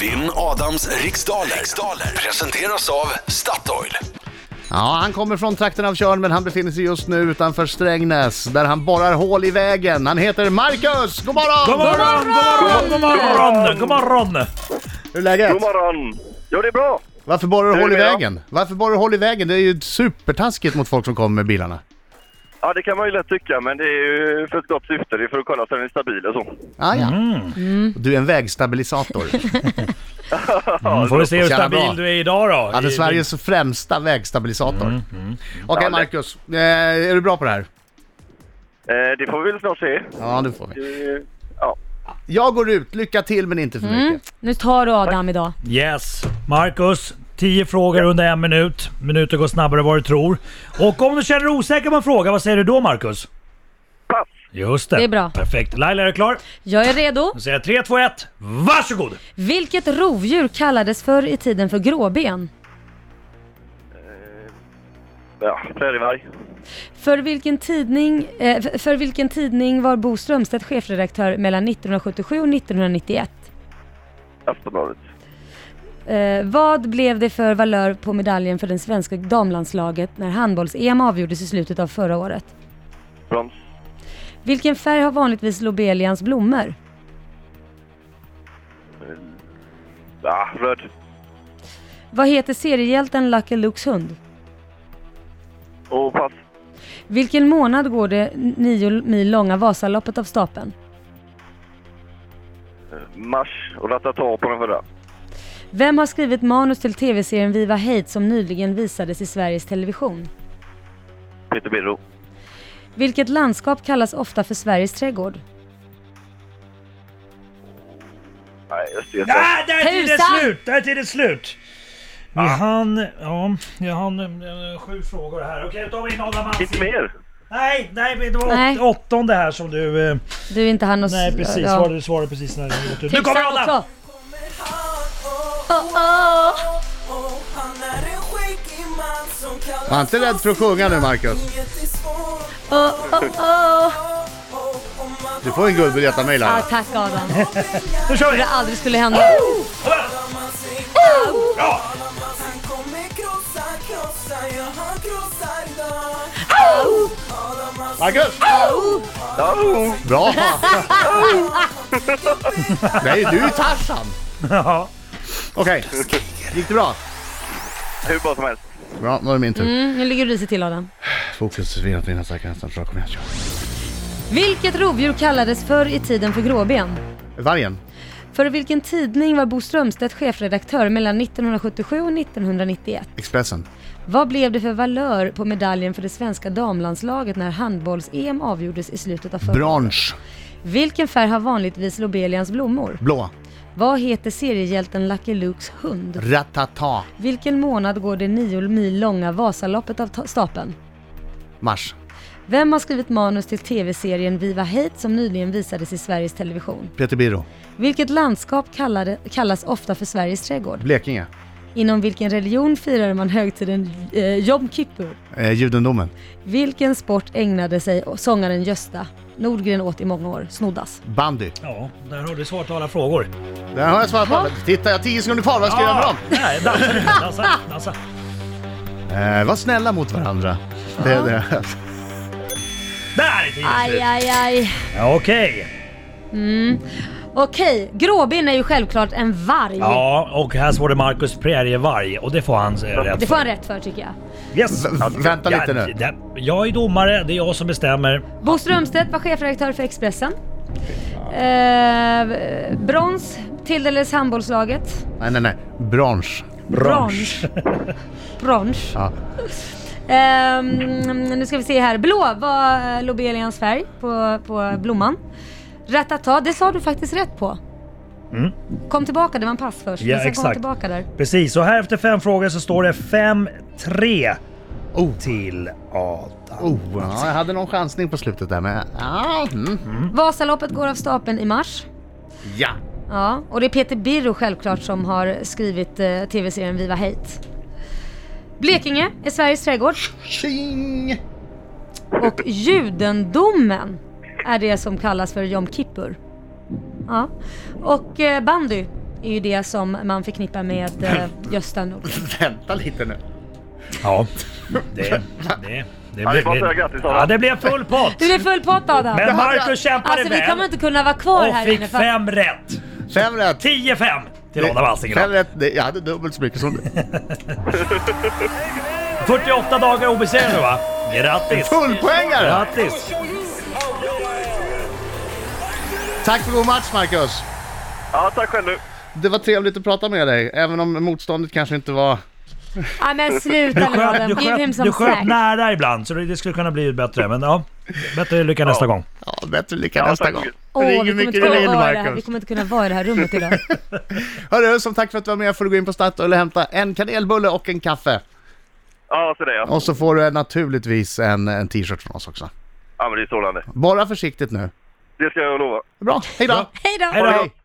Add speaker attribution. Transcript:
Speaker 1: Vinn Adams riksdaler. riksdaler presenteras av Statoil.
Speaker 2: Ja, han kommer från trakten av Tjörn men han befinner sig just nu utanför Strängnäs där han borrar hål i vägen. Han heter Marcus! God morgon!
Speaker 3: God morgon, god morgon, god morgon, god morgon!
Speaker 2: Hur är läget?
Speaker 4: God morgon! Jo, det är bra.
Speaker 2: Varför borrar du
Speaker 4: Hur
Speaker 2: hål i
Speaker 4: är det då?
Speaker 2: vägen? Varför borrar du hål i vägen? Det är ju supertaskigt mot folk som kommer med bilarna.
Speaker 4: Ja, det kan man ju lätt tycka, men det är ju för ett gott syfte. Det är för att kolla så den är stabil och så.
Speaker 2: Ah, ja.
Speaker 3: Mm.
Speaker 2: Du är en vägstabilisator.
Speaker 3: Då får vi se hur
Speaker 2: Tjena, bra.
Speaker 3: stabil du är idag då.
Speaker 2: Han är
Speaker 3: I-
Speaker 2: Sveriges främsta vägstabilisator.
Speaker 3: Mm,
Speaker 2: Okej
Speaker 4: Ja,
Speaker 2: Marcus, eh, är du bra på det här?
Speaker 4: Eh, det får vi väl snart se.
Speaker 2: Ja, nu får vi.
Speaker 4: Eh, Ja.
Speaker 2: Jag går ut, lycka till men inte för
Speaker 3: Mm.
Speaker 2: mycket.
Speaker 5: Nu tar du Adam idag.
Speaker 3: Yes. Marcus, 10 frågor under en minut. Minuter går snabbare än vad du tror. Och om du känner dig osäker på en fråga, vad säger du då Marcus?
Speaker 4: Pass!
Speaker 3: Just det.
Speaker 5: Det är bra.
Speaker 3: Perfekt. Laila, är du klar?
Speaker 5: Jag är redo.
Speaker 3: Då säger jag 3, 2, 1. Varsågod!
Speaker 5: Vilket rovdjur kallades förr i tiden för gråben?
Speaker 4: Ja, prärievarg.
Speaker 5: För vilken tidning, eh, för- för vilken tidning var Bo Strömstedt chefredaktör mellan 1977 och 1991?
Speaker 4: Aftonbladet.
Speaker 5: Eh, vad blev det för valör på medaljen för den svenska damlandslaget när handbolls-EM avgjordes i slutet av förra året?
Speaker 4: Brons.
Speaker 5: Vilken färg har vanligtvis Lobelians blommor?
Speaker 4: Ja, röd.
Speaker 5: Vad heter seriehjälten Lucky Lukes hund?
Speaker 4: Och pass.
Speaker 5: Vilken månad går det nio mil långa Vasaloppet av stapeln?
Speaker 4: Mars och ratata på den förra.
Speaker 5: Vem har skrivit manus till tv-serien Viva Hate som nyligen visades i Sveriges Television?
Speaker 4: Peter Birro.
Speaker 5: Vilket landskap kallas ofta för Sveriges trädgård?
Speaker 4: Nej, Östergötland.
Speaker 3: Ah, där är tiden
Speaker 5: Tusan!
Speaker 3: slut! Där är tiden slut! Vi hann... Ja, jag hann eh, sju frågor här. Okej, då tar vi in Adam
Speaker 4: Inte
Speaker 3: Alsing.
Speaker 4: mer!
Speaker 3: Nej, nej, men det var
Speaker 5: Nej.
Speaker 3: åt- åttonde här som du... eh,
Speaker 5: Du inte hann oss...
Speaker 3: Nej, precis.
Speaker 5: ja.
Speaker 3: Svarade, svarade precis när det gick ut. Nu
Speaker 5: Tusan
Speaker 3: kommer Adam!
Speaker 5: också!
Speaker 6: Han är en skäggig man som kallas
Speaker 2: Var inte rädd för att sjunga nu Marcus.
Speaker 6: Inget är svårt.
Speaker 5: Oh, oh, oh.
Speaker 6: Och om man
Speaker 2: Du får en guldbiljett av mig
Speaker 5: Ah,
Speaker 2: Laila.
Speaker 5: tack Adam.
Speaker 3: Nu kör vi!
Speaker 5: Det aldrig skulle hända.
Speaker 6: man sig Han kommer krossa, krossa, ja han krossar idag
Speaker 2: Marcus!
Speaker 4: Ja, oh.
Speaker 2: Bra! Nej, du är Tarzan!
Speaker 3: Ja.
Speaker 2: Okej, gick det bra?
Speaker 4: hur bra som helst.
Speaker 2: Bra, nu är det min tur.
Speaker 5: Mm, nu ligger du risigt till Adam.
Speaker 2: Fokus vi att vinna säkra nästan. Bra, kom igen, kör.
Speaker 5: Vilket rovdjur kallades förr i tiden för gråben?
Speaker 2: Vargen.
Speaker 5: För vilken tidning var Bo Strömstedt chefredaktör mellan 1977 och 1991?
Speaker 2: Expressen.
Speaker 5: Vad blev det för valör på medaljen för det svenska damlandslaget när handbolls-EM avgjordes i slutet av förra
Speaker 2: Bransch.
Speaker 5: Vilken färg har vanligtvis Lobelians blommor?
Speaker 2: Blå.
Speaker 5: Vad heter seriehjälten Lucky Lukes hund?
Speaker 2: Ratata.
Speaker 5: Vilken månad går det nio mil långa Vasaloppet av ta- stapeln?
Speaker 2: Mars.
Speaker 5: Vem har skrivit manus till tv-serien Viva Hate som nyligen visades i Sveriges Television?
Speaker 2: Peter Biro.
Speaker 5: Vilket landskap kallade, kallas ofta för Sveriges trädgård?
Speaker 2: Blekinge.
Speaker 5: Inom vilken religion firar man högtiden eh, Jom Kippur?
Speaker 2: Eh, judendomen.
Speaker 5: Vilken sport ägnade sig sångaren Gösta Nordgren åt i många år? Snoddas.
Speaker 2: Bandy.
Speaker 3: ja, där har du svar till alla frågor.
Speaker 2: Där har jag svarat på. Men Titta, jag har tio sekunder kvar. Vad ska jag göra med dem?
Speaker 3: Nej, dansa nu. Dansa, dansa.
Speaker 2: Eh, var snälla mot varandra. Det är det.
Speaker 3: Där är tiden
Speaker 5: Aj,
Speaker 3: slut!
Speaker 5: aj, aj.
Speaker 3: Ja, Okej.
Speaker 5: Okej, gråben är ju självklart en varg.
Speaker 3: Ja, och här står det Marcus Prärievarg och det får han eh, rätt
Speaker 5: Det får han rätt för tycker jag.
Speaker 3: för. Yes.
Speaker 2: V- vänta lite
Speaker 3: Ja,
Speaker 2: nu.
Speaker 3: det- Jag är domare, det är jag som bestämmer.
Speaker 5: Bo Strömstedt var chefredaktör för Expressen. Eh, brons tilldelades handbollslaget.
Speaker 2: Nej, nej, nej. Bransch.
Speaker 5: Brons. Brons.
Speaker 2: Ja.
Speaker 5: Ehm, nu ska vi se här. Blå var eh, Lobelians färg på, på blomman. Ratata, det sa du faktiskt rätt på. Kom tillbaka, det var en pass först.
Speaker 3: Mm. Ja,
Speaker 5: men sen kom
Speaker 3: exakt. Mm.
Speaker 5: tillbaka där.
Speaker 3: Precis, och här efter fem frågor så står det 5-3 till Adam.
Speaker 2: Oh, ja, jag hade någon chansning på slutet där, men... Ah, mm.
Speaker 5: Vasaloppet går av stapeln i mars.
Speaker 2: Ja!
Speaker 5: Ja, och det är Peter Birro självklart som har skrivit eh, tv-serien Viva Hate. Blekinge är Sveriges trädgård
Speaker 2: Tjing!
Speaker 5: och judendomen är det som kallas för Jom Kippur. Ja. Och eh, bandy är ju det som man förknippar med eh, Gösta Nord.
Speaker 2: Vänta lite nu.
Speaker 3: Ja, det... Det, det,
Speaker 4: Ja, det är bara att
Speaker 3: blev,
Speaker 4: säga grattis, Adam.
Speaker 3: ja, det blev full pott!
Speaker 5: Du är full pott Adam!
Speaker 3: Men Marcus kämpade
Speaker 5: Alltså vi kommer
Speaker 3: väl
Speaker 5: inte kunna vara kvar
Speaker 3: och
Speaker 5: här
Speaker 3: fick
Speaker 5: inne för
Speaker 3: fem rätt.
Speaker 2: Fem rätt.
Speaker 3: 10-5 till Adam
Speaker 2: Fem
Speaker 3: Alsingland.
Speaker 2: rätt. Det- Jag hade dubbelt så mycket som du.
Speaker 3: 48 dagar obesegrad nu va? Grattis!
Speaker 2: Fullpoängare!
Speaker 3: Grattis!
Speaker 2: Tack för god match Marcus.
Speaker 4: Ja, tack själv nu.
Speaker 2: Det var trevligt att prata med dig, även om motståndet kanske inte var...
Speaker 5: Nej men
Speaker 3: Du
Speaker 5: sluta nu
Speaker 3: sköt,
Speaker 5: Adam,
Speaker 3: du
Speaker 5: give him
Speaker 3: sköt,
Speaker 5: some
Speaker 3: du sköt
Speaker 5: slack.
Speaker 3: nära ibland så det det skulle kunna bli bättre. Men ja, bättre lycka nästa gång.
Speaker 2: Ja, bättre lycka
Speaker 4: Ja,
Speaker 2: nästa
Speaker 4: tack.
Speaker 2: gång.
Speaker 5: Åh,
Speaker 2: Ring
Speaker 5: vi
Speaker 2: hur
Speaker 5: kommer
Speaker 2: mycket
Speaker 5: inte
Speaker 2: du
Speaker 5: kunna
Speaker 2: vill,
Speaker 5: vara här. Vi
Speaker 2: Marcus.
Speaker 5: kommer inte kunna vara i det här rummet idag.
Speaker 2: Hörru, som tack för att du var med får du gå in på Statoil och hämta en kanelbulle och en kaffe.
Speaker 4: Ja, så det ja.
Speaker 2: Och så får du naturligtvis en, en t-shirt från oss också.
Speaker 4: Ja, men det är strålande.
Speaker 2: Bara försiktigt nu.
Speaker 4: Det ska jag lova.
Speaker 2: Bra, hejdå!
Speaker 5: Hej då!
Speaker 3: Hej då!